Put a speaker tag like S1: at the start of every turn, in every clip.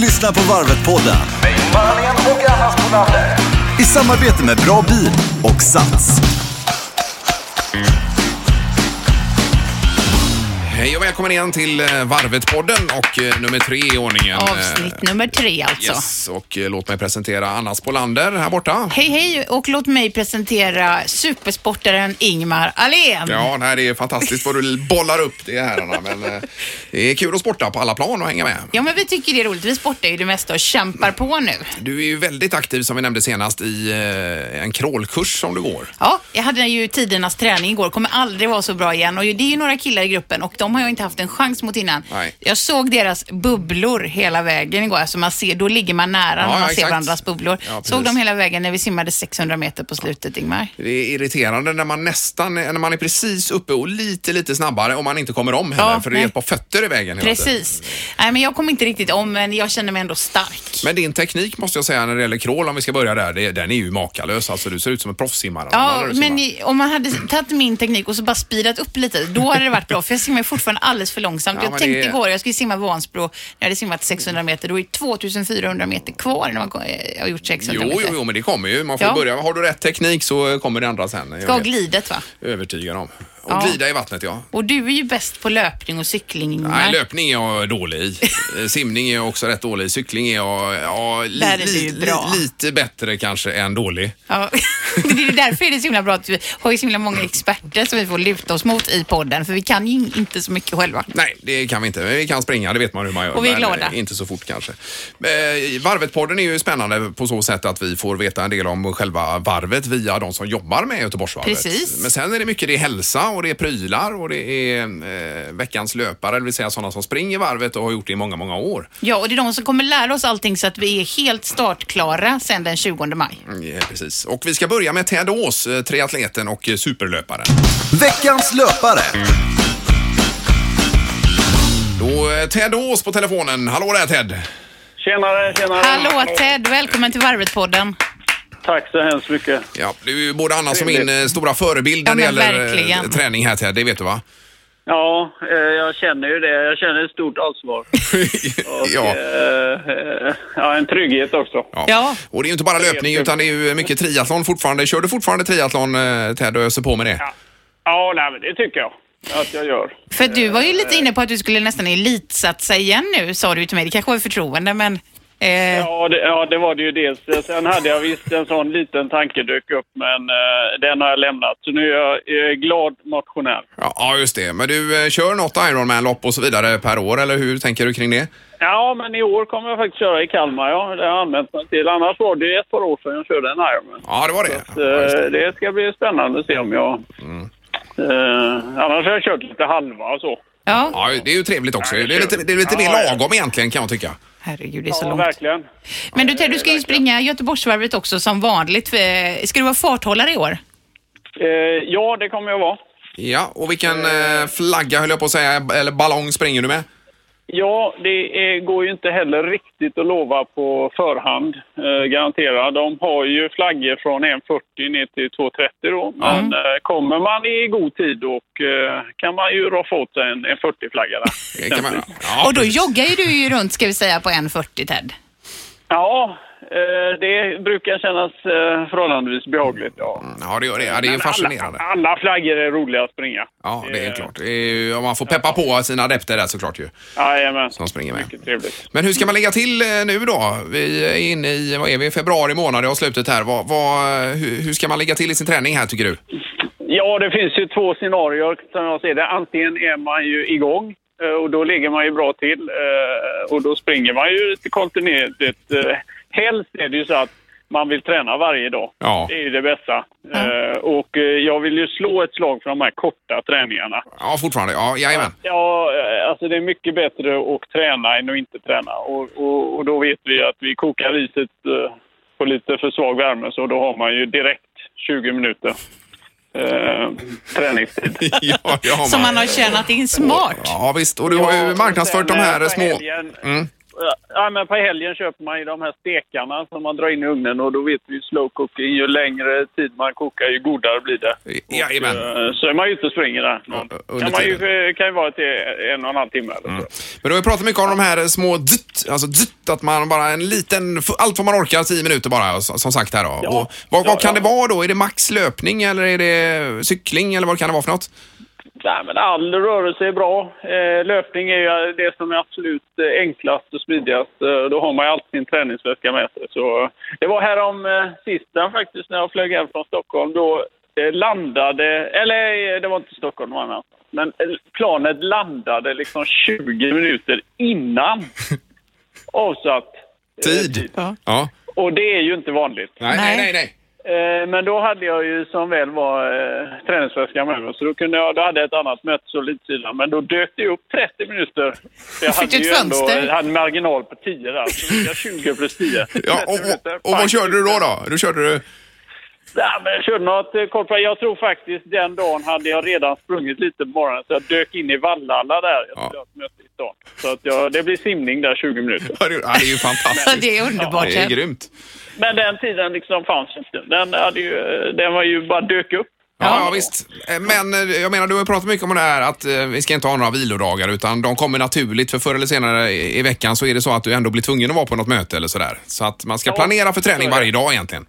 S1: lyssnar på Varvet-podden i samarbete med Bra Bil och Sats.
S2: Hej och välkommen igen till eh, Varvet-podden och eh, nummer tre i ordningen. Eh,
S3: Avsnitt nummer tre alltså.
S2: Yes, och eh, låt mig presentera Anna Spolander här borta.
S3: Hej hej och låt mig presentera supersportaren Ingmar Ahlén.
S2: Ja, nej, det är fantastiskt vad du bollar upp det här Anna, men eh, det är kul att sporta på alla plan och hänga med.
S3: Ja, men vi tycker det är roligt. Vi sportar ju det mesta och kämpar på nu.
S2: Du är ju väldigt aktiv som vi nämnde senast i eh, en crawlkurs som du går.
S3: Ja, jag hade ju tidernas träning igår. Kommer aldrig vara så bra igen. Och det är ju några killar i gruppen och de har jag inte haft en chans mot innan.
S2: Nej.
S3: Jag såg deras bubblor hela vägen igår. Alltså man ser, då ligger man nära
S2: Ja,
S3: när man
S2: ja,
S3: ser
S2: exakt.
S3: varandras bubblor.
S2: Ja, precis.
S3: såg dem hela vägen när vi simmade 600 meter på slutet, Ingmar.
S2: Det är irriterande när man nästan, när man är precis uppe och lite, lite snabbare och man inte kommer om heller
S3: Ja,
S2: för det är
S3: nej.
S2: ett par fötter i vägen hela tiden.
S3: Precis. Nej, men jag kom inte riktigt om, men jag känner mig ändå stark.
S2: Men din teknik måste jag säga när det gäller crawl, om vi ska börja där, det, den är ju makalös. Alltså du ser ut som en proffssimmare.
S3: Ja,
S2: När du
S3: men
S2: simmar.
S3: i- om man hade tagit min teknik och så bara speedat upp lite, då hade det varit bra. För jag simmar fortfarande alldeles för långsamt.
S2: Ja,
S3: jag
S2: men
S3: tänkte
S2: det-
S3: igår, jag skulle simma Vansbro, när jag hade simmat 600 meter, då är det 2400 meter kvar när man ko- eh, har gjort 600
S2: Jo,
S3: meter.
S2: jo, jo, men det kommer ju. Man får
S3: Ja.
S2: börja. Har du rätt teknik så kommer det andra sen. Jag
S3: Ska ha
S2: är
S3: glidet va?
S2: Övertygad om. Och
S3: Ja.
S2: glida i vattnet, ja.
S3: Och du är ju bäst på löpning och cykling Ingmar.
S2: Nej, löpning är jag dålig i. Eh, Simning är jag också rätt dålig i. Cykling är jag ja, li,
S3: Där är du
S2: li,
S3: ju bra.
S2: li, lite bättre kanske än dålig.
S3: Ja, det är därför är det så himla bra att vi har ju så himla många experter som vi får luta oss mot i podden, för vi kan ju in- inte så mycket själva.
S2: Nej, det kan vi inte. Men Vi kan springa, det vet man hur man gör.
S3: Och vi är
S2: men, eh,
S3: glada.
S2: Inte så fort kanske. Eh, Varvet-podden är ju spännande på så sätt att vi får veta en del om själva varvet via de som jobbar med Göteborgsvarvet.
S3: Precis.
S2: Men sen är det mycket det är hälsa och det är prylar och det är eh, veckans löpare, det vill säga sådana som springer varvet och har gjort det i många, många år.
S3: Ja, och det är de som kommer lära oss allting så att vi är helt startklara sen den 20 maj.
S2: Ja, precis. Och vi ska börja med Ted Ås, eh, triatleten och eh, superlöparen.
S1: Veckans löpare.
S2: Då eh, Ted Ås på telefonen. Hallå där Ted!
S4: Tjenare, tjänare.
S3: Hallå Ted, välkommen till Varvet-podden.
S4: Tack så hemskt mycket.
S2: Ja, du är ju både Annas och min eh, stora förebild när
S3: Ja,
S2: det
S3: men
S2: gäller eh,
S3: verkligen.
S2: träning här Ted, det vet du va?
S4: Ja, eh, jag känner ju det. Jag känner ett stort ansvar. Och,
S2: ja.
S4: eh, eh, ja, en trygghet också.
S2: Ja.
S3: Ja.
S2: och det är ju inte bara löpning utan det är ju mycket triathlon fortfarande. Kör du fortfarande triathlon eh, Ted och öser på med det?
S4: Ja, ja nej, men det tycker jag att jag gör.
S3: För du var ju lite inne på att du skulle nästan elitsatsa igen nu, sa du ju till mig. Det kanske var ett förtroende, men... Eh, ja.
S4: Ja det, ja, det var det ju dels. Sen hade jag visst en sån liten tanke dök upp, men eh, den har jag lämnat. Så nu är jag, jag är glad motionär.
S2: Ja, ja, just det. Men du eh, kör något Ironman-lopp och så vidare per år eller hur tänker du kring det?
S4: Ja, men i år kommer jag faktiskt köra i Kalmar, ja. Det har jag använt mig till. Annars var det ett par år sedan jag körde en Ironman.
S2: Ja, det var det.
S4: Så,
S2: Ja, just det. Mm.
S4: eh, det ska bli spännande att se om jag... Eh, annars har jag kört lite halva och så.
S2: Ja, det är ju trevligt också. Det är lite, det är lite mer
S4: Ja, ja.
S2: lagom egentligen kan jag tycka.
S3: Herregud, det är så
S4: Ja,
S3: långt.
S4: verkligen.
S3: Men du Ted, du ska ju springa Göteborgsvarvet också som vanligt. Eh, Ska du vara farthållare i år?
S4: Eh, ja, det kommer jag vara.
S2: Ja, och vilken eh, flagga höll jag på att säga, eller ballong springer du med?
S4: Ja, det eh, går ju inte heller riktigt att lova på förhand, eh, garantera. De har ju flaggor från 1.40 ner till 2.30 då. Men eh, kommer man i god tid och eh, kan man ju roffa åt sig en, en 40-flagga där.
S2: Det kan man- Ja,
S3: Och då joggar ju du ju runt, ska vi säga, på 1.40 Ted.
S4: Ja, eh, det brukar kännas eh, förhållandevis behagligt. Ja.
S2: Ja, det gör det. Ja, det är ju
S4: Men alla-
S2: fascinerande.
S4: Alla flaggor är roliga att springa.
S2: Ja, det är
S4: Eh,
S2: klart. Det är ju- om man får peppa på sina adepter där såklart ju,
S4: Jajamän.
S2: som springer med.
S4: Mycket trevligt.
S2: Men hur ska man lägga till eh, nu då? Vi är inne i, vad är vi, februari månad, det har slutet här. Vad, vad, hur, hur ska man lägga till i sin träning här tycker du?
S4: Ja, det finns ju två scenarier som jag ser det. Antingen är man ju igång eh, och då ligger man ju bra till eh, och då springer man ju lite kontinuerligt. Eh, Helst är det ju så att man vill träna varje dag.
S2: Ja.
S4: Det är ju det bästa. Eh, Och eh, jag vill ju slå ett slag för de här korta träningarna.
S2: Ja, fortfarande. Ja, jajamän.
S4: Ja, eh, alltså det är mycket bättre att träna än att inte träna. Och, och, och då vet vi att vi kokar riset eh, på lite för svag värme så då har man ju direkt 20 minuter eh, träningstid.
S2: Ja, det har
S3: Som man har tjänat in smart.
S2: Ja, visst. Och du har ju
S4: och
S2: marknadsfört
S4: sen,
S2: de
S4: eh,
S2: här
S4: på
S2: små... Mm.
S4: Helgen, ja, men på helgen köper man ju de här stekarna som man drar in i ugnen och då vet vi ju slow cooking, ju längre tid man kokar ju godare blir det.
S2: Jajamän.
S4: Eh, Så är man ju ute och springer där. någon.
S2: Ja, under
S4: Kan man
S2: tiden. Mm.
S4: ju, kan ju vara till en och en halv timme eller så.
S2: Men då har vi pratat mycket om de här små dytt, alltså dytt, att man bara en liten, allt vad man orkar, tio minuter bara, så- som sagt här då.
S4: Ja.
S2: Och vad, vad
S4: Ja,
S2: kan
S4: ja.
S2: det vara då? Är det max löpning eller är det cykling eller vad kan det vara för något?
S4: Nej, men all rörelse är bra. Eh, löpning är ju det som är absolut eh, enklast och smidigast. Eh, då har man ju alltid sin träningsväska med sig. Så, eh, det var härom eh, sisten faktiskt, när jag flög hem från Stockholm. Då eh, landade, eller eh, det var inte Stockholm, det var någon annanstans. Men eh, planet landade liksom 20 minuter innan avsatt eh,
S2: Tid?
S3: Ja.
S2: Ja.
S4: Och det är ju inte vanligt.
S2: Nej, nej,
S3: Nej.
S2: nej. nej.
S4: Eh, men då hade jag ju som väl var eh, träningsväska med mig, så då, kunde jag, då hade jag ett annat möte så lite sidan. Men då dök det upp 30 minuter. Så Jag
S3: Fick
S4: hade
S3: du ett
S4: ju ändå
S3: fönster?
S4: jag hade marginal på 10 där, så fick jag 20 plus 10. 30
S2: Ja, och,
S4: minuter.
S2: och, och vad
S4: Tack.
S2: körde du då? Då, då körde du...
S4: Ja, men jag körde något eh, kort. Jag tror faktiskt den dagen hade jag redan sprungit lite på morgonen, så jag dök in i Vallhalla där. Jag
S2: Ja.
S4: skulle ha ett möte i stan. Så att jag, det blir simning där 20 minuter.
S2: Ja, det är ju
S3: Så
S2: fantastiskt.
S3: det är underbart.
S2: Det är
S3: Ja,
S2: grymt.
S4: Men den tiden liksom fanns inte. Den, hade ju, eh, den var ju bara dök upp.
S2: Ja, ja, visst. Eh, Men eh, jag menar, du har pratat mycket om det här att eh, vi ska inte ha några vilodagar utan de kommer naturligt för förr eller senare i i veckan så är det så att du ändå blir tvungen att vara på något möte eller sådär. Så att man ska
S4: Ja,
S2: planera för träning
S4: så är det.
S2: varje dag egentligen.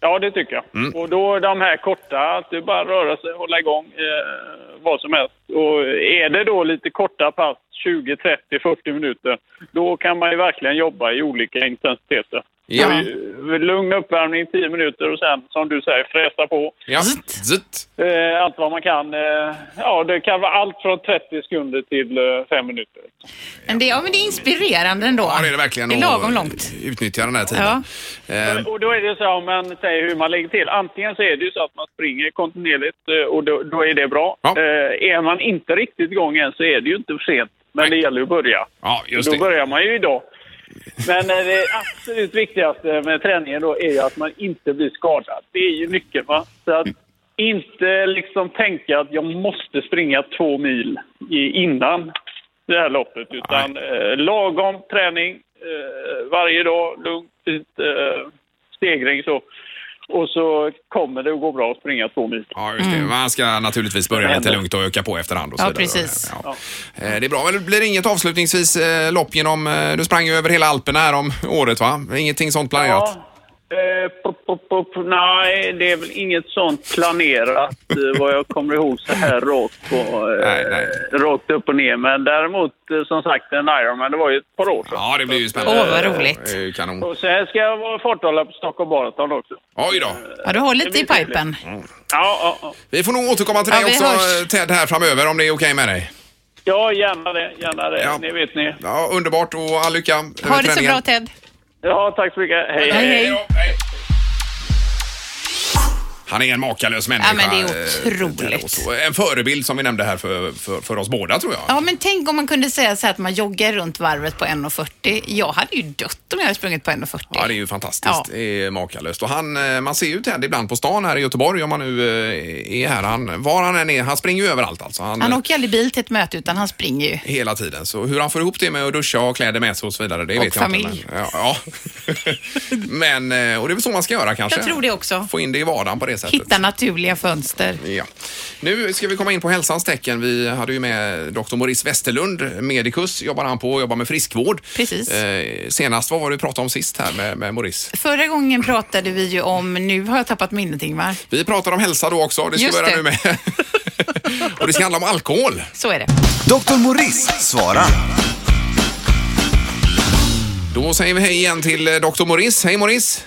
S4: Ja, det tycker jag. Och då de här korta, att det är bara att röra sig, hålla igång, eh, vad som helst. Och är det då lite korta pass, 20, 30, 40 minuter, då kan man ju verkligen jobba i olika intensiteter.
S2: Ja.
S4: Och, eh, Lugn uppvärmning 10 minuter och sen, som du säger, fräsa på
S2: Ja.
S3: Zitt.
S2: Zitt.
S4: eh, allt vad man kan. Eh, ja, det kan vara allt från 30 sekunder till eh, 5 minuter.
S3: Men det, ja, men det är inspirerande ändå.
S2: Ja, det är det verkligen.
S3: Det är
S2: att
S3: lagom långt.
S2: Utnyttja den här tiden. Eh,
S4: Och då är det så här, om man säger hur man lägger till. Antingen så är det ju så att man springer kontinuerligt eh, och då, då är det bra.
S2: Ja.
S4: Eh, är man inte riktigt igång än så är det ju inte för sent. Men det gäller ju att börja.
S2: Ja, just
S4: då
S2: det.
S4: börjar man ju idag. Men eh, det absolut viktigaste med träningen då är ju att man inte blir skadad. Det är ju nyckeln va. Så att inte liksom tänka att jag måste springa två mil i, innan det här loppet. Utan eh, lagom träning eh, varje dag, lugnt, fint, eh, stegring så. Och så kommer det att gå bra att springa två mil.
S2: Ja, just det. Man ska naturligtvis börja lite lugnt och öka på efterhand och så
S3: Mm. Ja,
S2: vidare.
S3: precis.
S2: Ja. Eh, Det är bra. Men det blir inget avslutningsvis eh, lopp genom... eh, Du sprang ju över hela Alperna här om året, va? Ingenting sånt planerat?
S4: Ja. Eh, pop, pop, pop, nej, det är väl inget sånt planerat eh, vad jag kommer ihåg så här rakt, på, eh,
S2: Nej, nej.
S4: rakt upp och ner. Men däremot eh, som sagt en Ironman, det var ju ett par år sedan.
S2: Ja, det blir ju spännande.
S3: Åh, vad roligt.
S2: Det är ju Kanon.
S4: Och sen ska jag vara farthållare på Stockholm Marathon också.
S2: Oj då.
S3: Ja, du har lite i
S4: Det blir trevligt.
S3: pipen.
S4: Ja, ja, ja.
S2: Vi får nog återkomma till
S3: Ja,
S2: dig
S3: vi
S2: också
S3: hörs.
S2: eh, Ted här framöver om det är okej med dig.
S4: ja gärna det. Gärna det.
S2: Ja.
S4: Ni vet ni.
S2: Ja, underbart och all lycka
S3: Ha det så bra Ted.
S4: Ja, tack så mycket. Hej,
S3: Hej, hej.
S2: då. Hej. Han är en makalös människa.
S3: Ja, men det är
S2: eh,
S3: otroligt.
S2: och så. En förebild som vi nämnde här för, för, för oss båda tror jag.
S3: Ja, men tänk om man kunde säga så här att man joggar runt varvet på 1,40. Jag hade ju dött om jag hade sprungit på 1,40.
S2: Ja, det är ju fantastiskt.
S3: Ja.
S2: Det är makalöst. Och han, eh, man ser ju Ted ibland på stan här i Göteborg om man nu eh, är här. Han, var han än är, han springer ju överallt alltså. Han,
S3: Han
S2: eh,
S3: åker ju aldrig bil till ett möte utan han springer ju.
S2: Hela tiden. Så hur han får ihop det med att duscha och ha kläder med sig och så vidare, det
S3: Och
S2: vet jag
S3: familj.
S2: inte. Men, ja, ja. men, eh, och det är väl så man ska göra kanske?
S3: Jag tror det också.
S2: Få in det i vardagen på det sättet.
S3: Hitta naturliga fönster.
S2: Ja. Nu ska vi komma in på hälsans tecken. Vi hade ju med Dr. Maurice Westerlund, medikus, jobbar han på och jobbar med friskvård.
S3: Precis.
S2: Eh, senast, vad var det vi pratade om sist här med, med Maurice?
S3: Förra gången pratade vi ju om, nu har jag tappat minnet Ingvar.
S2: Vi pratar om hälsa då också, det ska vi
S3: Just
S2: göra
S3: det.
S2: nu med. och det ska handla om alkohol.
S3: Så är det.
S1: Dr. Morris svarar.
S2: Då säger vi hej igen till eh, Dr. Maurice. Hej Maurice!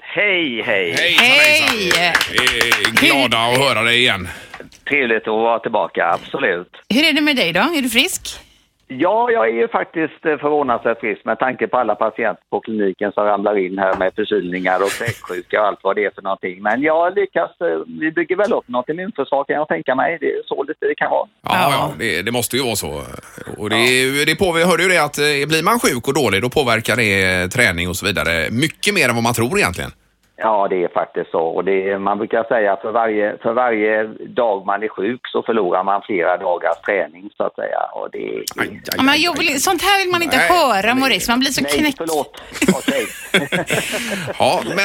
S5: Hej, hej!
S2: Hejsan, hejsan.
S3: Hej!
S2: Vi är Glada att höra dig igen.
S5: Trevligt att vara tillbaka, absolut.
S3: Hur är det med dig då? Är du frisk?
S5: Ja, jag är ju faktiskt eh, förvånansvärt frisk med tanke på alla patienter på kliniken som ramlar in här med förkylningar och kräksjuka och allt vad det är för någonting. Men jag lyckas, eh, vi bygger väl upp något immunförsvar kan jag tänka mig. Det är så lite det kan vara.
S2: Ja, ja.
S3: Ja.
S2: det, det måste ju vara så. Och det, är ju- det på, vi hörde ju det att eh, blir man sjuk och dålig då påverkar det eh, träning och så vidare mycket mer än vad man tror egentligen.
S5: Ja, det är faktiskt så. Och det, är- man brukar säga att för varje, för varje dag man är sjuk så förlorar man flera dagars träning så att säga. Och det är...
S2: Aj, aj,
S3: Ja, men
S2: aj,
S3: jag
S2: aj.
S3: vill, sånt här vill man inte
S2: Nej,
S3: höra, Maurice. Man blir så
S5: Nej,
S3: knäckt.
S5: förlåt. Okej.
S2: Ja, men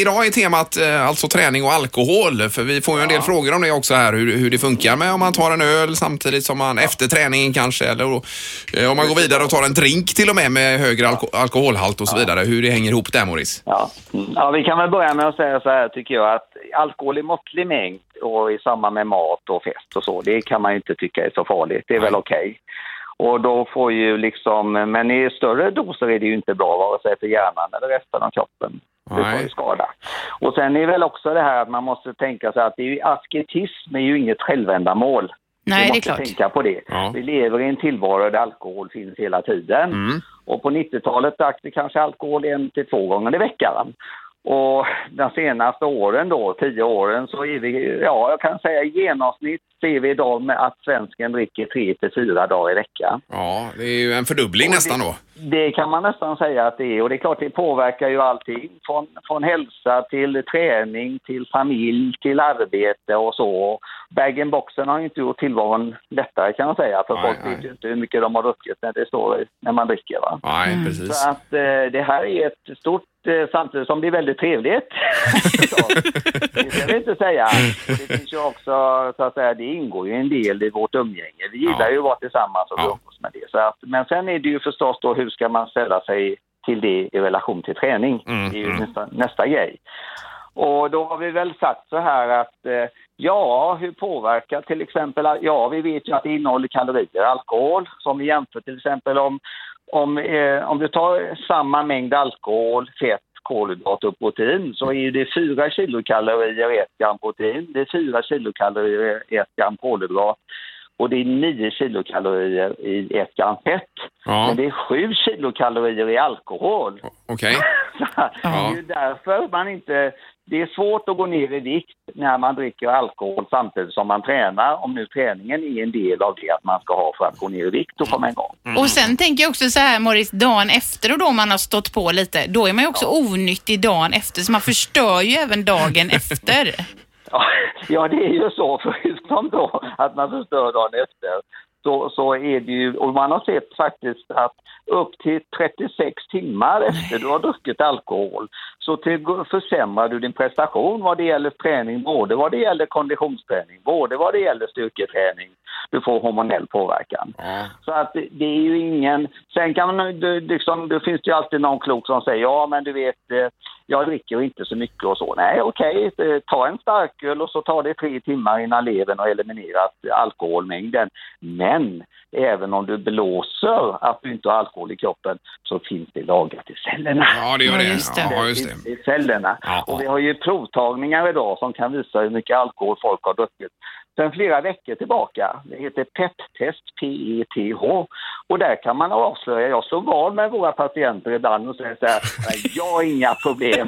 S2: idag är temat eh, alltså träning och alkohol. För vi får ju en del frågor om det också här, hur, hur det funkar med om man tar en öl samtidigt som man efter träningen kanske, eller eh, om man går vidare och tar en drink till och med med högre alko alkoholhalt och så vidare. Hur det hänger ihop där, Morris.
S5: Ja. Mm. ja, vi kan väl börja med att säga så här tycker jag att alkohol i måttlig mängd och i samband med mat och fest och så, det kan man ju inte tycka är så farligt. Det är väl okej. Och då får ju liksom, men i större doser är det ju inte bra vare sig för hjärnan eller resten av kroppen. Det
S2: Nej.
S5: får ju skada. Och sen är väl också det här att man måste tänka sig att det är ju, asketism är ju inget självändamål.
S3: Nej,
S5: vi
S3: det är
S5: måste
S3: klart.
S5: tänka på det.
S2: Ja.
S5: Vi lever i en tillvaro där alkohol finns hela tiden. Och på 90-talet drack vi kanske alkohol en till två gånger i veckan. Och de senaste åren då, tio åren, så är vi, ja jag kan säga i genomsnitt ser vi idag med att svensken dricker tre till fyra dagar i veckan.
S2: Ja, det är ju en fördubbling nästan då.
S5: Det kan man nästan säga att det är och det är klart det påverkar ju allting från, från hälsa till träning, till familj, till arbete och så. Bag-in-boxen har ju inte gjort tillvaron lättare kan man säga för
S2: Nej,
S5: folk
S2: nej.
S5: vet ju inte hur mycket de har druckit när det står i- när man dricker va.
S2: Nej, precis.
S5: Så att eh, det här är ett stort, eh, samtidigt som det är väldigt trevligt. Så, det ska vi inte säga. Och Det finns ju också, så att säga, det ingår ju en del i vårt umgänge. Vi gillar
S2: Ja.
S5: ju att vara tillsammans och
S2: Ja.
S5: vi umgås med det. Så att, men sen är det ju förstås då hur ska man ställa sig till det i relation till träning.
S2: Mm,
S5: det är ju
S2: mm.
S5: nästa, nästa grej. Och då har vi väl sagt så här att eh, ja, hur påverkar till exempel, ja vi vet ju att det innehåller kalorier, alkohol, som vi jämför till exempel om, om, eh, om du tar samma mängd alkohol, fett, kolhydrat och protein så är ju det 4 kilokalorier i ett gram protein, det är 4 kilokalorier i ett gram kolhydrat och det är 9 kilokalorier i ett gram fett.
S2: Ja,
S5: Men det är 7 kilokalorier i alkohol.
S2: okej.
S5: Det är ju därför man inte... Det är svårt att gå ner i vikt när man dricker alkohol samtidigt som man tränar, om nu träningen är en del av det att man ska ha för att gå ner i vikt och komma igång.
S2: Mm.
S3: Och sen tänker jag också så här, Morris, dagen efter och då man har stått på lite, då är man ju också onyttig dagen efter, så man förstör ju även dagen efter.
S5: Ja, ja, det är ju så, förutom då att man förstör dagen efter, så, så är det ju, och man har sett faktiskt att upp till 36 timmar efter du har druckit alkohol så till, försämrar du din prestation vad det gäller träning, både vad det gäller konditionsträning, både vad det gäller styrketräning. Du får hormonell påverkan.
S2: Ja.
S5: Så att det- det är ju ingen... Sen kan man, ju- det, liksom, det finns det ju alltid någon klok som säger ja men du vet, eh, jag dricker inte så mycket och så. Nej okej, eh, ta en starköl och så tar det tre timmar innan levern har eliminerat alkoholmängden. Men även om du blåser att du inte har alkohol i kroppen så finns det lagrat i cellerna.
S2: Ja, det gör
S3: Ja,
S2: det.
S3: just det.
S2: Ja, just det.
S5: I cellerna.
S2: Ja.
S5: Och vi har ju provtagningar idag som kan visa hur mycket alkohol folk har druckit. Sen flera veckor tillbaka, det heter PET-test, P-E-T-H. Och där kan man avslöja, jag står van med våra patienter ibland och säger så här, "Nej, jag har inga problem.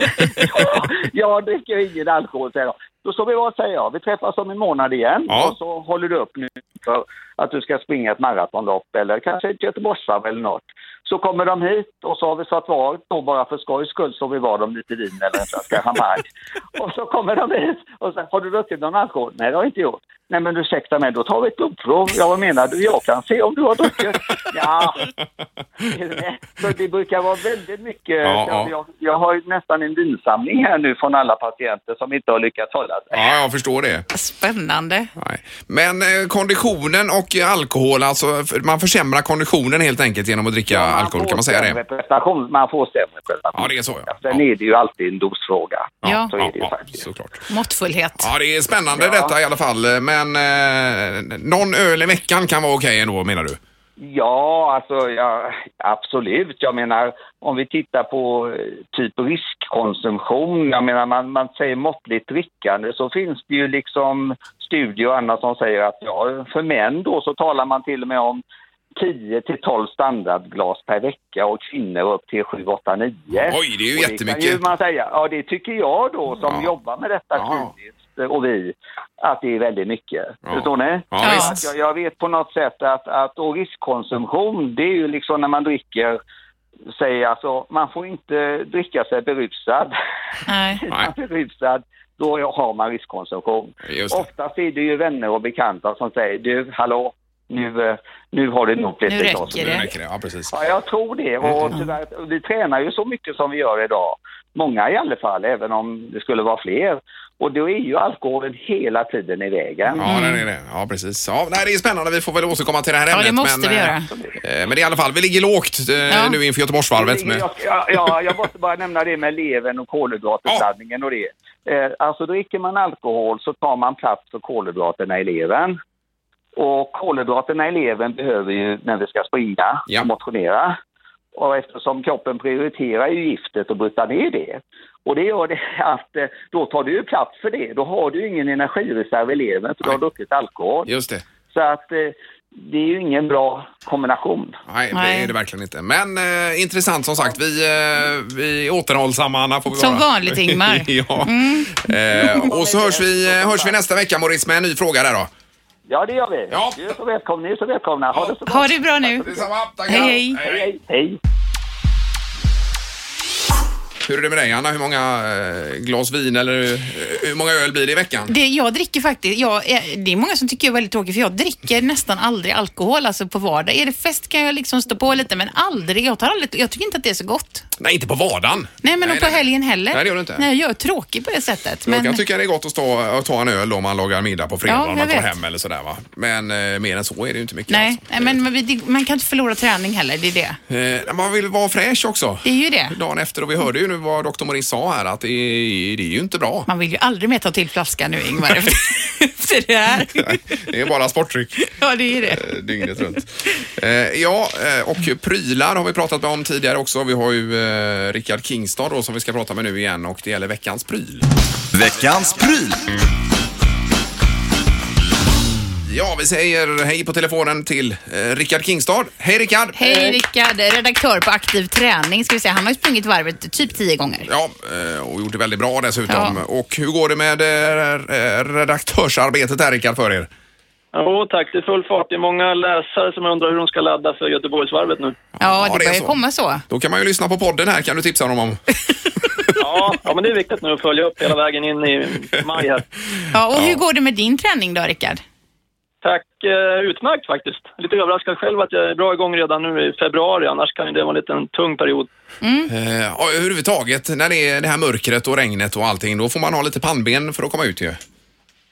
S5: jag dricker ingen alkohol, säger de. Då står vi vad säger jag, vi träffas om en månad igen
S2: Ja.
S5: och så håller du upp nu för att du ska springa ett maratonlopp eller kanske ett Göteborgsvarv eller något. Så kommer de hit och så har vi satt var, då bara för skojs skull så vi var dem lite vin eller en flaska champagne. Och så kommer de hit och så har du druckit någon alkohol? Nej, det har jag inte gjort. Nej, men ursäkta mig, då tar vi ett blodprov. Ja, vad menar du? Jag kan se om du har druckit. Ja, så det brukar vara väldigt mycket.
S2: Ja, ja.
S5: Jag, jag har ju nästan en vinsamling här nu från alla patienter som inte har lyckats hålla sig.
S2: Ja, jag förstår det.
S3: Spännande.
S2: Nej. Men eh, konditionen och alkohol, alltså f- man försämrar konditionen helt enkelt genom att dricka alkohol, kan man säga det?
S5: Prestation, man får sämre prestation.
S2: Ja, det är så, ja.
S5: Sen
S2: Ja.
S5: är det ju alltid en dosfråga.
S3: Ja.
S5: Så är det ju
S2: ja,
S5: faktiskt.
S2: såklart.
S3: Måttfullhet.
S2: Ja, det är spännande
S5: Ja.
S2: detta i alla fall. Men eh, någon öl i veckan kan vara okej ändå, menar du?
S5: Ja, alltså ja, absolut. Jag menar, om vi tittar på eh, typ riskkonsumtion, jag menar man, man säger måttligt drickande, så finns det ju liksom studier och annat som säger att ja, för män då så talar man till och med om 10 till 12 standardglas per vecka och kvinnor upp till 7, 8, 9.
S2: Oj, det är ju
S5: Och
S2: jättemycket.
S5: kan ju man säga. Ja, det tycker jag då som
S2: Ja.
S5: jobbar med detta
S2: Ja.
S5: kliniskt och vi, att det är väldigt mycket.
S2: Ja.
S5: Förstår ni?
S2: Ja,
S3: Ja.
S2: visst.
S5: Att jag, jag vet på något sätt att, att och riskkonsumtion, det är ju liksom när man dricker säger alltså, man får inte dricka sig berusad.
S3: Nej.
S5: Är man berusad, då har man riskkonsumtion.
S2: Just det.
S5: Oftast är det ju vänner och bekanta som säger du, hallå, nu, eh, nu har det nog blivit
S3: Nu
S5: ett
S3: räcker Mm.
S5: glas."
S2: Nu
S3: det.
S2: räcker det. Ja, precis.
S5: Ja, jag tror det.
S2: Mm.
S5: Och tyvärr, vi tränar ju så mycket som vi gör idag. Många i alla fall, även om det skulle vara fler. Och då är ju alkoholen hela tiden i vägen.
S2: Ja, det är det. Ja, precis. Ja, nej, det är spännande. Vi får väl återkomma till det här
S3: Ja,
S2: ämnet.
S3: det måste
S2: men,
S3: vi
S2: eh,
S3: göra.
S2: eh, Men det är i alla fall, vi ligger lågt eh,
S3: Ja.
S2: nu inför Göteborgsvarvet. Med,
S5: Jag, ja, ja, jag måste bara nämna det med levern och kolhydratuppladdningen och det. Eh, alltså dricker man alkohol så tar man plats för kolhydraterna i levern. Och kolhydraterna i levern behöver ju när vi ska springa
S2: Ja.
S5: och motionera. Och eftersom kroppen prioriterar ju giftet och bryta ner det. Och det gör det att eh, då tar du ju plats för det. Då har du ingen energireserv i levern för du har
S2: Nej.
S5: druckit alkohol.
S2: just det.
S5: Så att eh, det är ju ingen bra kombination.
S2: Nej, det
S3: Nej.
S2: är det verkligen inte. Men eh, intressant som sagt. Vi, eh, vi är återhållsamma, Anna, får vi
S3: Som
S2: vara.
S3: vanligt, Ingmar. Mm.
S2: ja. Eh, och så hörs vi, eh, hörs vi nästa vecka, Morris, med en ny fråga där då.
S5: Ja, det gör vi.
S2: Ja.
S5: Du är så välkommen. Ni är så välkomna. Ha det så bra.
S3: Ha det bra nu.
S2: Detsamma. Tackar.
S3: Hej, hej.
S5: Hej, hej. hej.
S2: Hur är det med dig, Anna? Hur många eh, glas vin eller eh, hur många öl blir det i veckan?
S3: Det, jag dricker faktiskt, jag, eh, det är många som tycker jag är väldigt tråkig för jag dricker nästan aldrig alkohol alltså på vardag. Är det fest kan jag liksom stå på lite men aldrig, jag, tar aldrig, jag tycker inte att det är så gott.
S2: Nej, inte på vardagen.
S3: Nej men och på helgen heller.
S2: Nej, det gör du inte.
S3: Nej, jag är tråkig på det sättet.
S2: Jag kan
S3: Men,
S2: tycka det är gott att stå och ta en öl om man lagar middag på fredag
S3: Ja,
S2: om
S3: jag
S2: man tar
S3: vet.
S2: hem eller sådär va. Men eh, mer än så är det ju inte mycket.
S3: nej,
S2: alltså.
S3: nej men man, det- man kan inte förlora träning heller, det är det.
S2: Eh, man vill vara fräsch också.
S3: Det är ju det.
S2: Dagen efter och vi hörde ju nu vad doktor Morin sa här att det är, det är ju inte bra.
S3: Man vill ju aldrig mer ta till flaskan nu Ingmar efter, efter det här.
S2: Nej, det är bara sporttryck
S3: Ja, det är ju det.
S2: eh, dygnet runt. Eh, ja, eh, och prylar har vi pratat med om tidigare också. Vi har ju eh, Rickard Kingstad då som vi ska prata med nu igen och det gäller veckans pryl.
S1: Veckans pryl.
S2: Ja, vi säger hej på telefonen till eh, Rickard Kingstad. Hej Rickard!
S3: Hej Rickard, redaktör på Aktiv Träning ska vi säga. Han har ju sprungit varvet typ tio gånger.
S2: Ja, eh, och gjort det väldigt bra dessutom.
S3: Ja.
S2: Och hur går det med eh, eh, redaktörsarbetet här Rickard för er?
S4: Jo tack, det är full fart. Det är många läsare som undrar hur de ska ladda för Göteborgsvarvet nu.
S3: Ja,
S2: ja,
S3: det
S2: det är
S3: börjar
S2: så.
S3: komma så.
S2: Då kan man ju lyssna på podden här, kan du tipsa dem om.
S4: Ja, ja men det är viktigt nu att följa upp hela vägen in i maj här.
S3: Ja, och hur går det med din träning då Rickard?
S4: Tack, eh, utmärkt faktiskt. Lite överraskad själv att jag är bra igång redan nu i februari, annars kan ju det vara en liten tung period.
S2: Eh, ja, överhuvudtaget, när det är det här mörkret och regnet och allting, då får man ha lite pannben för att komma ut ju.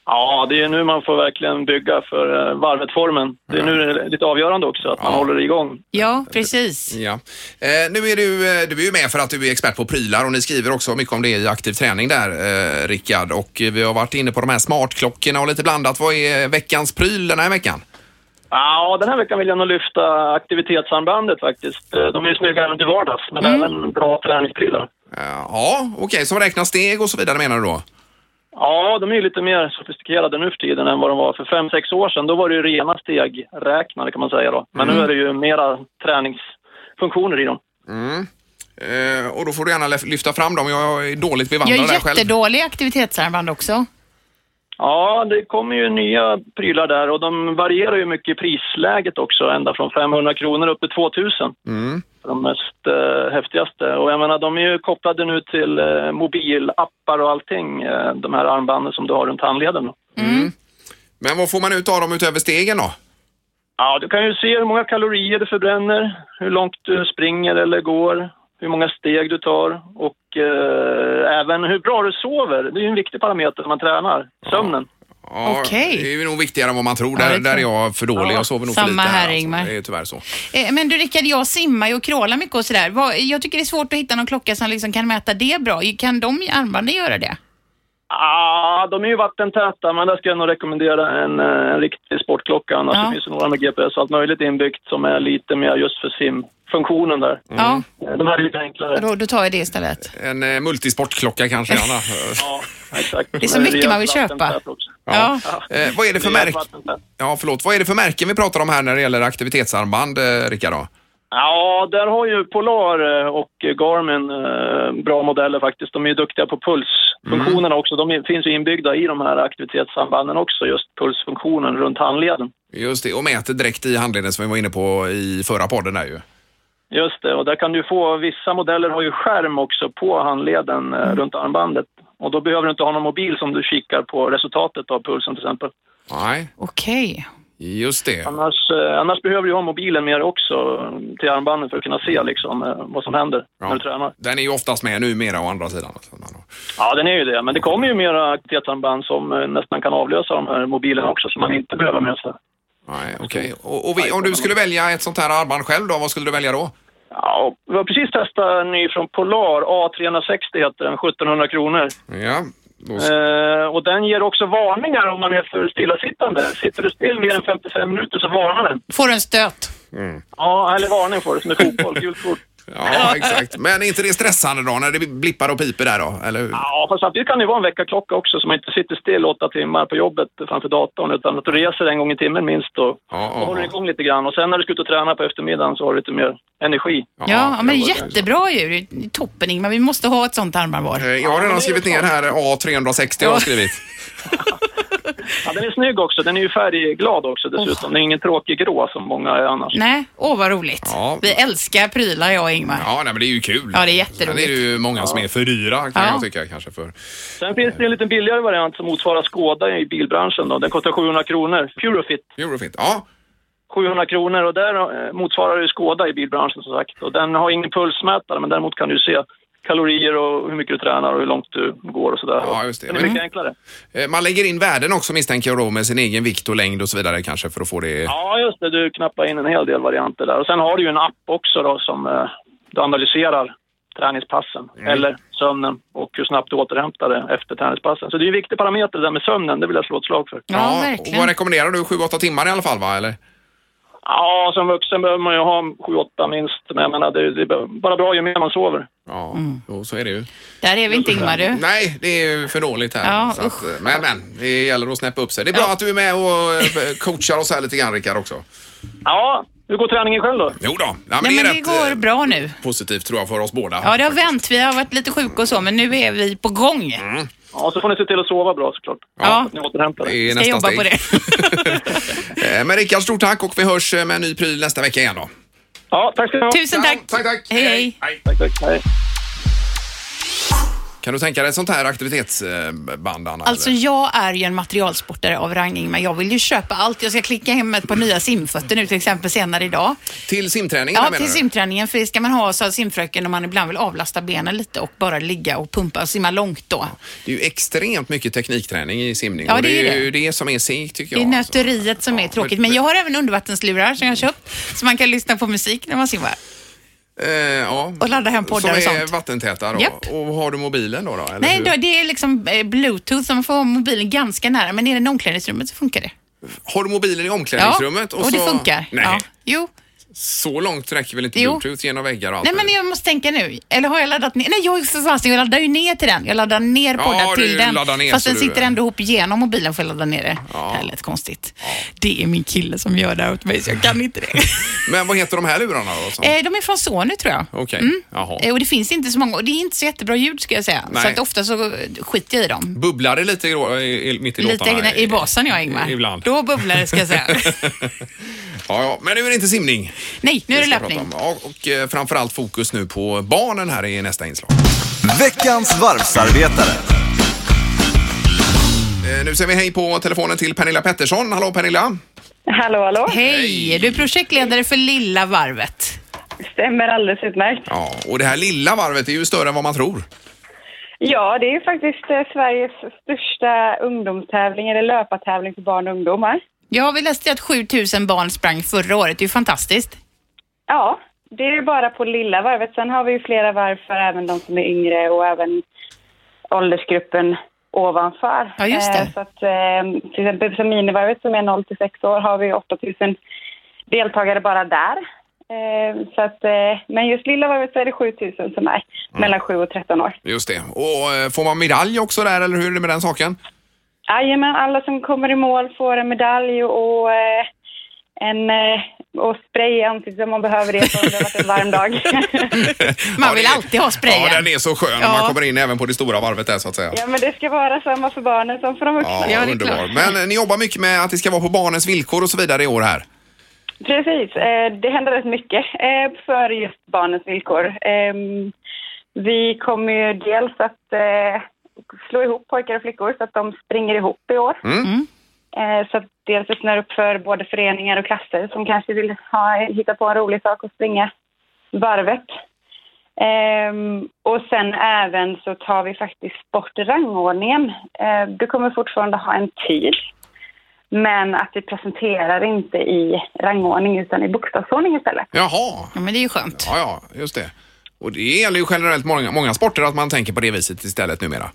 S4: Ja, det är nu man får verkligen bygga för eh, varvet-formen. Det är nu det är lite avgörande också, att man
S2: Ja.
S4: håller igång.
S3: Ja, precis.
S2: Ja. Eh, nu är du, eh, du är ju med för att du är expert på prylar och ni skriver också mycket om det i aktiv träning där, eh, Rickard. Och eh, vi har varit inne på de här smartklockorna och lite blandat. Vad är veckans pryl den här veckan?
S4: Ja, den här veckan vill jag nog lyfta aktivitetsarmbandet faktiskt. Eh, De är ju snygga även till vardags, men även bra träningsprylar.
S2: Eh, ja, okej, som räknar steg och så vidare menar du då?
S4: Ja, de är ju lite mer sofistikerade nu för tiden än vad de var för fem sex år sedan. Då var det ju rena stegräknare kan man säga då. Men nu är det ju mera träningsfunktioner i dem.
S2: Eh, och då får du gärna lef- lyfta fram dem. Jag är dåligt bevandrad
S3: Jag är
S2: där själv.
S3: jättedålig i aktivitetsarmband också.
S4: Ja, det kommer ju nya prylar där och de varierar ju mycket i prisläget också, ända från 500 kronor upp till 2000. De mest eh, häftigaste. Och jag menar, de är ju kopplade nu till eh, mobilappar och allting, eh, de här armbanden som du har runt handleden. Då.
S2: Men vad får man ut av dem utöver stegen då?
S4: Ja, du kan ju se hur många kalorier du förbränner, hur långt du springer eller går, hur många steg du tar och eh, även hur bra du sover. Det är ju en viktig parameter när man tränar, sömnen.
S2: Ja,
S3: Okej.
S2: Det är ju nog viktigare än vad man tror.
S3: Ja,
S2: Där,
S3: det tror
S2: där är
S3: jag.
S2: jag för dålig. Jag sover nog för
S3: Samma
S2: lite
S3: här,
S2: alltså.
S3: Ingmar.
S2: Det är tyvärr så.
S3: Eh, Men du Rickard, jag simmar ju och krålar mycket och sådär. Vad- Jag tycker det är svårt att hitta någon klocka som liksom kan mäta det bra. Kan de i armbanden göra det?
S4: Ah, de är ju vattentäta, men där ska jag nog rekommendera en, eh, en riktig sportklocka. Annars
S3: Ja.
S4: det finns ju några med GPS och allt möjligt inbyggt som är lite mer just för simfunktionen där.
S2: Mm.
S3: Ja,
S4: Eh, De här är lite enklare.
S3: då, då tar jag det istället.
S2: En eh, multisportklocka kanske, Anna.
S4: Ja, exakt.
S3: är så
S4: Men
S3: mycket
S4: rejält
S3: man vill köpa.
S4: vattentät också.
S3: Ja.
S2: eh, vad är det för
S4: Rejält
S2: märke?
S4: vattentät.
S2: Ja, förlåt. Vad är det för märken vi pratar om här när det gäller aktivitetsarmband, eh, Rickard? Då?
S4: Ja, där har ju Polar eh, och Garmin eh, bra modeller faktiskt. De är ju duktiga på pulsfunktionerna
S2: Mm.
S4: också. De är- finns ju inbyggda i de här aktivitetssambanden också, just pulsfunktionen runt handleden.
S2: Just det, och mäter direkt i handleden som vi var inne på i förra podden där ju.
S4: Just det, och där kan du få, vissa modeller har ju skärm också på handleden eh, runt armbandet. Och då behöver du inte ha någon mobil som du kikar på resultatet av pulsen till exempel.
S2: Nej,
S3: Okej.
S2: just det.
S4: Annars, eh, annars behöver du ha mobilen med dig också eh, till armbanden för att kunna se liksom, eh, vad som händer när du tränar.
S2: Den är ju oftast med numera å andra sidan.
S4: Ja, den är ju det. Men det kommer ju mera aktivitetsarmband som eh, nästan kan avlösa de här mobilerna också, som man inte behöver med sig.
S2: Nej, okej. Och, och vi, om du skulle välja ett sånt här armband själv då, vad skulle du välja då?
S4: Ja, och vi har precis testat en ny från Polar, A360 heter den, 1700 kronor.
S2: Ja, då ska
S4: Eh, och den ger också varningar om man är för stillasittande. Sitter du still mer än 55 minuter så varnar den.
S3: Får du en stöt?
S4: Ja, eller varning får du, som är fotboll, gult kort.
S2: Ja, exakt. Men är inte det stressande då när det blippar och piper där då? Eller hur?
S4: Ja, fast samtidigt kan det ju vara en veckaklocka också så man inte sitter still åtta timmar på jobbet framför datorn utan att du reser en gång i timmen minst och,
S2: Ja, ja,
S4: och håller
S2: ja.
S4: igång lite grann. Och sen när du ska ut och träna på eftermiddagen så har du lite mer energi.
S3: Ja, men det är jättebra ju. Det är Toppen Ingmar, vi måste ha ett sånt armband var.
S2: Eh, Jag har redan skrivit ner här A360 har jag skrivit.
S4: Ja, den är snygg också, den är ju färgglad också dessutom. Den är ingen tråkig grå som många är annars.
S3: Nej, åh vad roligt.
S2: Ja.
S3: Vi älskar prylar jag och Ingmar.
S2: Ja, nej, men det är ju kul.
S3: Ja, det är jätteroligt.
S2: Sen är det ju många som är för dyra kan
S3: Ja.
S2: jag tycka kanske. För...
S4: Sen finns det en lite billigare variant som motsvarar Skoda i bilbranschen då. Den kostar 700 kronor. Purofit
S2: Eurofint. Ja,
S4: 700 kronor och där eh, motsvarar ju Skoda i bilbranschen som sagt. Och den har ingen pulsmätare men däremot kan du se kalorier och hur mycket du tränar och hur långt du går och sådär.
S2: Ja, just det.
S4: Den är mycket enklare.
S2: Eh, man lägger in värden också misstänker jag då med sin egen vikt och längd och så vidare kanske för att få det.
S4: Ja, just det. Du knappar in en hel del varianter där. Och sen har du ju en app också då som eh, du analyserar träningspassen
S2: Mm.
S4: eller sömnen och hur snabbt du återhämtar dig efter träningspassen. Så det är ju en viktig parameter det där med sömnen, det vill jag slå ett slag för.
S3: Ja,
S2: och
S3: verkligen.
S2: vad rekommenderar du? 7-8 timmar i alla fall va? Eller?
S4: Ja, som vuxen behöver man ju ha 7-8 minst, men jag menar det, det är bara bra ju mer man sover.
S2: Ja,
S3: Mm.
S2: jo, så är det ju.
S3: Där är vi inte Ingmar du.
S2: Nej, det är ju för dåligt här.
S3: Ja,
S2: så att, eh, men, men, det gäller att snäppa upp sig. Det är bra att du är med och eh, coachar oss här lite grann Rickard också.
S4: Ja, hur går träningen själv då?
S2: Jo då. Ja, men
S3: Nej
S2: det är
S3: men det
S2: rätt,
S3: går
S2: eh,
S3: bra nu.
S2: positivt tror jag för oss båda.
S3: Ja, det har vänt. Vi har varit lite sjuka och så, men nu är vi på gång.
S2: Mm.
S4: Ja, så får ni se till att sova bra såklart.
S3: Ja.
S4: Ni återhämtar er.
S2: Det är
S3: Ska
S2: nästa
S3: jobba
S2: steg.
S3: på det.
S2: Eh, Men Rickard, stort tack och vi hörs eh, med en ny pryl nästa vecka igen då.
S4: Ja, tack ska ni ha.
S3: Tusen tack.
S2: Tack, tack.
S3: Hej, hej.
S4: Tack, tack. Hej.
S2: Kan du tänka dig ett sånt här aktivitetsband, Anna?
S3: Alltså
S2: eller?
S3: jag är ju en materialsportare av rang men jag vill ju köpa allt. Jag ska klicka hem ett par nya simfötter nu till exempel senare idag.
S2: Till simträningen
S3: Ja,
S2: menar
S3: till
S2: du?
S3: simträningen, för det ska man ha, sa simfröken, om man ibland vill avlasta benen lite och bara ligga och pumpa och simma långt då.
S2: Det är ju extremt mycket teknikträning i simning
S3: Ja,
S2: och det
S3: det är
S2: är
S3: det.
S2: ju det som är segt tycker
S3: Det
S2: jag.
S3: är
S2: alltså.
S3: nöteriet som är
S2: Ja,
S3: tråkigt, men jag har även undervattenslurar som jag har köpt, så man kan lyssna på musik när man simmar.
S2: Eh, ja.
S3: och ladda hem poddar och
S2: Som är
S3: sånt.
S2: vattentäta då.
S3: Japp.
S2: Och har du mobilen då? då eller
S3: Nej,
S2: hur?
S3: då, det är liksom eh, bluetooth, så man får ha mobilen ganska nära, men är den i omklädningsrummet så funkar det.
S2: Har du mobilen i omklädningsrummet?
S3: och, och det
S2: så...
S3: funkar.
S2: Nej,
S3: Ja. Jo.
S2: så långt räcker väl inte
S3: Jo.
S2: bluetooth genom väggar och allt?
S3: Nej
S2: det
S3: men jag måste tänka nu. Eller har jag laddat ner? Nej jag är också fast, jag laddar ju ner till den. Jag laddar ner
S2: Ja,
S3: poddar
S2: du
S3: till den.
S2: laddar ner
S3: fast
S2: så
S3: den
S2: du-
S3: sitter ändå ihop genom mobilen för jag laddar ner det.
S2: Ja.
S3: Det här lät konstigt. Det är min kille som gör det här åt mig så jag kan inte det.
S2: Men vad heter de här lurarna då? som-
S3: Eh, de är från Sony tror jag.
S2: Okej, jaha.
S3: Eh, Och det finns inte så många och det är inte så jättebra ljud ska jag säga.
S2: Nej.
S3: Så att ofta så eh, skiter jag i dem.
S2: Bubblar det lite i- i, i, mitt i
S3: Lite
S2: låtarna?
S3: i basen jag Ingmar.
S2: Ibland.
S3: Då bubblar det ska jag säga.
S2: Ja, ja, men nu är det inte simning.
S3: Nej, nu är det
S2: vi ska prata
S3: löpning.
S2: om. Ja, och eh, framförallt fokus nu på barnen här i nästa inslag.
S1: Veckans varvsarbetare.
S2: Eh, Nu säger vi hej på telefonen till Pernilla Pettersson. Hallå Pernilla!
S6: Hallå, hallå.
S3: Hej! Du är projektledare för Lilla varvet.
S6: Stämmer alldeles utmärkt.
S2: Ja, och det här lilla varvet är ju större än vad man tror.
S6: Ja, det är faktiskt eh, Sveriges största ungdomstävling, eller löpartävling för barn och ungdomar.
S3: Ja, vi läste att 7000 barn sprang förra året. Det är ju fantastiskt.
S6: Ja, det är ju bara på lilla varvet. Sen har vi ju flera varv för även de som är yngre och även åldersgruppen ovanför.
S3: Ja, just det.
S6: Eh, Så att, eh, till exempel för minivarvet som är 0 till 6 år har vi 8000 deltagare bara där. Eh, Så att, eh, men just lilla varvet så är det 7000 som är
S3: Mm.
S6: mellan 7 och 13 år.
S2: Just det. Och eh, får man medalj också där eller hur är det med den saken?
S6: Jajamän, alla som kommer i mål får en medalj och eh, en eh, och spray i ansiktet om man behöver det, för om det har varit en varm dag.
S3: Man
S2: Ja,
S3: vill
S2: det är-
S3: alltid ha sprayen.
S2: Ja, den är så skön när
S3: Ja.
S2: man kommer in även på det stora varvet där så att säga.
S6: ja, men det ska vara samma för barnen som för de vuxna.
S2: Ja,
S3: Ja, det är
S2: underbar.
S3: klart.
S2: Men eh, ni jobbar mycket med att det ska vara på barnens villkor och så vidare i år här.
S6: Precis, eh, det händer rätt mycket eh, för just barnens villkor. Eh, Vi kommer ju dels att eh, slå ihop pojkar och flickor så att de springer ihop i år.
S2: Mm.
S3: Mm.
S6: Eh, Så att dels öppnar upp för både föreningar och klasser som kanske vill ha, hitta på en rolig sak och springa varvet. Ehm, och sen även så tar vi faktiskt bort rangordningen. Eh, du kommer fortfarande ha en tid, men att vi presenterar inte i rangordning utan i bokstavsordning istället.
S2: Jaha,
S3: Ja, men det är ju skönt.
S2: ja, ja, just det. Och det gäller ju generellt många, många sporter att man tänker på det viset istället numera.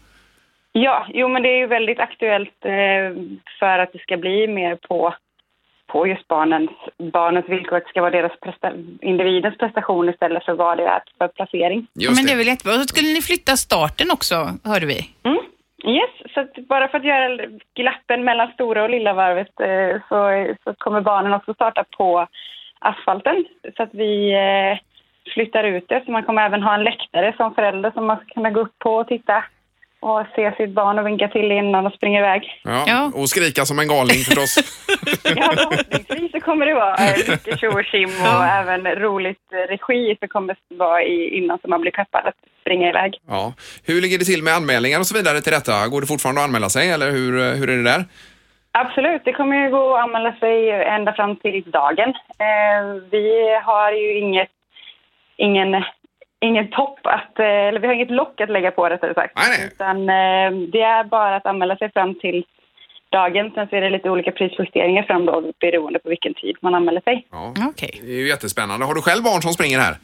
S6: Ja, jo men det är ju väldigt aktuellt eh, för att det ska bli mer på, på just barnens, barnens villkor. Att det ska vara deras presta, individens prestation istället för vad det är för placering.
S2: Just
S3: men det är
S2: det.
S3: väl jättebra. Och så skulle ni flytta starten också, hörde vi.
S6: Mm. Yes, så att bara för att göra glappen mellan stora och lilla varvet eh, så, så kommer barnen också starta på asfalten. Så att vi eh, flyttar ut det. Så man kommer även ha en läktare som förälder som man ska kunna gå upp på och titta och se sitt barn och vinka till innan de springer iväg.
S2: Ja,
S3: Ja.
S2: Och skrika som en galning förstås.
S6: Ja, förhoppningsvis så kommer det vara eh, mycket tjo och tjim och även roligt eh, regi som kommer vara i, innan så man blir peppad att springa iväg.
S2: ja. Hur ligger det till med anmälningar och så vidare till detta? Går det fortfarande att anmäla sig eller hur, hur är det där?
S6: Absolut, det kommer ju gå att anmäla sig ända fram till dagen. Eh, vi har ju inget, ingen, ingen topp att, eh, eller vi har inget lock att lägga på rättare sagt.
S2: Nej, nej.
S6: Utan eh, det är bara att anmäla sig fram till dagen. Sen så är det lite olika prisjusteringar fram då beroende på vilken tid man anmäler sig.
S2: Ja.
S3: Okej.
S2: Det är ju jättespännande. Har du själv barn som springer här?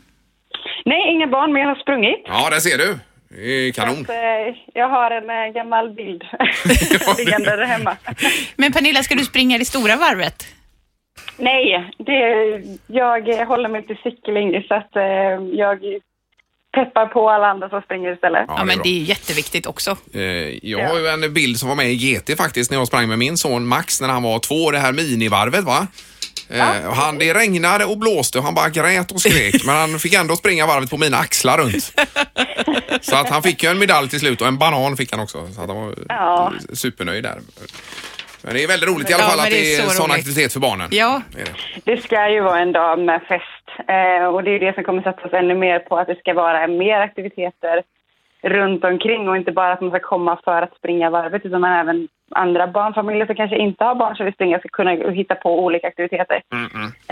S6: Nej, inga barn, men jag har sprungit.
S2: Ja, där ser du. Det är ju Kanon.
S6: Så att, eh, jag har en eh, gammal bild liggande där hemma.
S3: Men Pernilla, ska du springa det stora varvet?
S6: Nej, det, jag eh, håller mig till cykling så att eh, jag peppar på alla andra som springer istället.
S3: Ja,
S2: det är
S3: men
S2: bra.
S3: det är ju jätteviktigt också.
S2: Eh, Jag har ju en bild som var med i GT faktiskt när jag sprang med min son Max när han var två, år, det här minivarvet va? Eh, och han, det regnade och blåste och han bara grät och skrek men han fick ändå springa varvet på mina axlar runt. Så att han fick ju en medalj till slut och en banan fick han också. Så att han var
S6: Ja.
S2: supernöjd där. Men det är väldigt roligt i alla
S3: Ja,
S2: fall
S3: men
S2: att
S3: det är
S2: det är
S3: så
S2: en sån
S3: roligt.
S2: aktivitet för barnen.
S3: Ja.
S2: Det är det.
S6: Det ska ju vara en dag med fest eh, och det är det som kommer satsas ännu mer på att det ska vara mer aktiviteter runt omkring och inte bara att man ska komma för att springa varvet utan man även andra barnfamiljer som kanske inte har barn som vill springa ska kunna hitta på olika aktiviteter.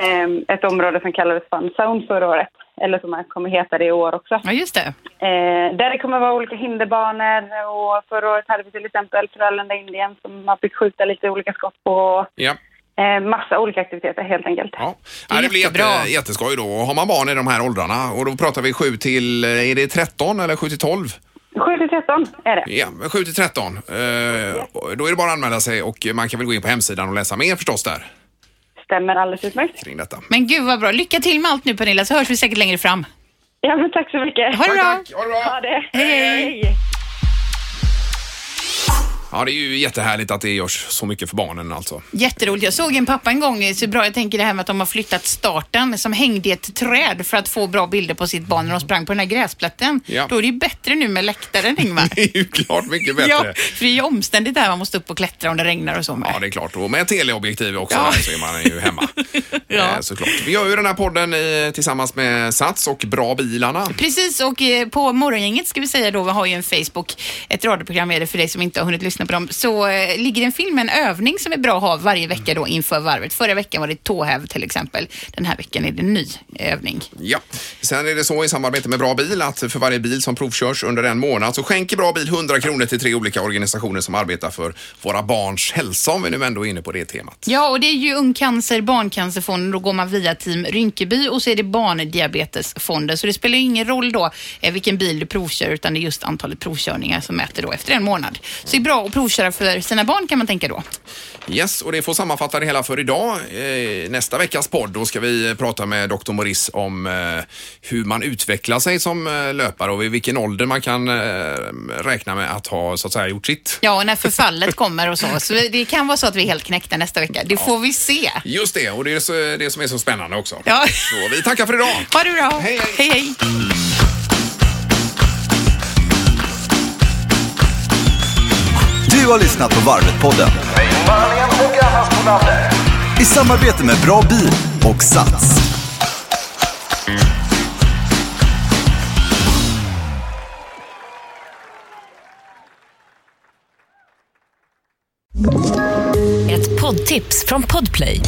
S6: Eh, ett område som kallades Fun Zone förra året, eller som man kommer heta det i år också.
S3: Ja, just det.
S6: Eh, där det kommer vara olika hinderbanor och förra året hade vi till exempel Frölunda-Indien som man fick skjuta lite olika skott på.
S2: Ja.
S6: Eh, massa olika aktiviteter helt enkelt.
S2: Ja.
S3: Det är
S2: Det, det blir jätte,
S3: jättebra.
S2: jätteskoj då. Och Har man barn i de här åldrarna och då pratar vi 7 till, eh, är det 13 eller 7 till 12?
S6: 7 till 13 är det.
S2: Ja, men 7 till 13. Eh, och då är det bara att anmäla sig och man kan väl gå in på hemsidan och läsa mer förstås där
S6: Stämmer alldeles utmärkt.
S2: kring detta.
S3: Men gud vad bra. Lycka till med allt nu Pernilla, så hörs vi säkert längre fram.
S6: Ja, men tack så mycket.
S3: Ha det bra!
S2: Ha det bra!
S6: Ha det.
S3: Hej, hej.
S2: Ja, det är ju jättehärligt att det görs så mycket för barnen alltså.
S3: Jätteroligt. Jag såg en pappa en gång, så bra, jag tänker det här med att de har flyttat starten, som hängde i ett träd för att få bra bilder på sitt barn när de sprang på den här gräsplätten.
S2: Ja.
S3: Då är det ju bättre nu med läktaren, Ingmar.
S2: Det är ju klart mycket
S3: ja,
S2: bättre.
S3: för det är ju omständigt det här, man måste upp och klättra om det regnar och så. med.
S2: Ja, det är klart. Och med teleobjektiv också
S3: Ja.
S2: där, så är man ju hemma.
S3: Ja.
S2: eh, såklart. Vi gör ju den här podden eh, tillsammans med Sats och Bra Bilarna.
S3: Precis, och eh, på morgongänget ska vi säga då, vi har ju en Facebook, ett radioprogram är det för dig som inte har hunnit lyssna på dem, så eh, ligger det en film, en övning som är bra att ha varje vecka då inför varvet. Förra veckan var det tåhäv till exempel. Den här veckan är det en ny övning.
S2: Ja. Sen är det så i samarbete med Bra Bil att för varje bil som provkörs under en månad så skänker Bra Bil 100 kronor till tre olika organisationer som arbetar för våra barns hälsa om vi nu ändå är inne på det temat.
S3: Ja, och det är ju Ungcancer, Barncancerfonden, då går man via Team Rinkeby och så är det Barndiabetesfonden. Så det spelar ju ingen roll då eh, vilken bil du provkör utan det är just antalet provkörningar som mäter då efter en månad. Så det är bra att provköra för sina barn kan man tänka då.
S2: Yes, och det får sammanfatta det hela för idag. Eh, nästa veckas podd, då ska vi prata med Dr. Morris om eh, hur man utvecklar sig som eh, löpare och vid vilken ålder man kan eh, räkna med att ha så att säga gjort sitt.
S3: Ja, och när förfallet kommer och så. Så det kan vara så att vi är helt knäckta nästa vecka. Det får vi se.
S2: Just det, och det är så, det som är så spännande också.
S3: Ja.
S2: Så vi tackar för idag.
S3: Ha det bra.
S2: Hej, hej.
S3: hej, hej.
S1: Du har lyssnat på Varvet-podden. I samarbete med Bra Bil och Sats.
S7: Ett poddtips från Podplay.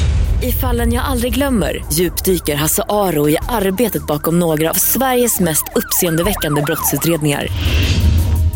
S7: I fallen jag aldrig glömmer djupdyker Hasse Aro i arbetet bakom några av Sveriges mest uppseendeväckande brottsutredningar.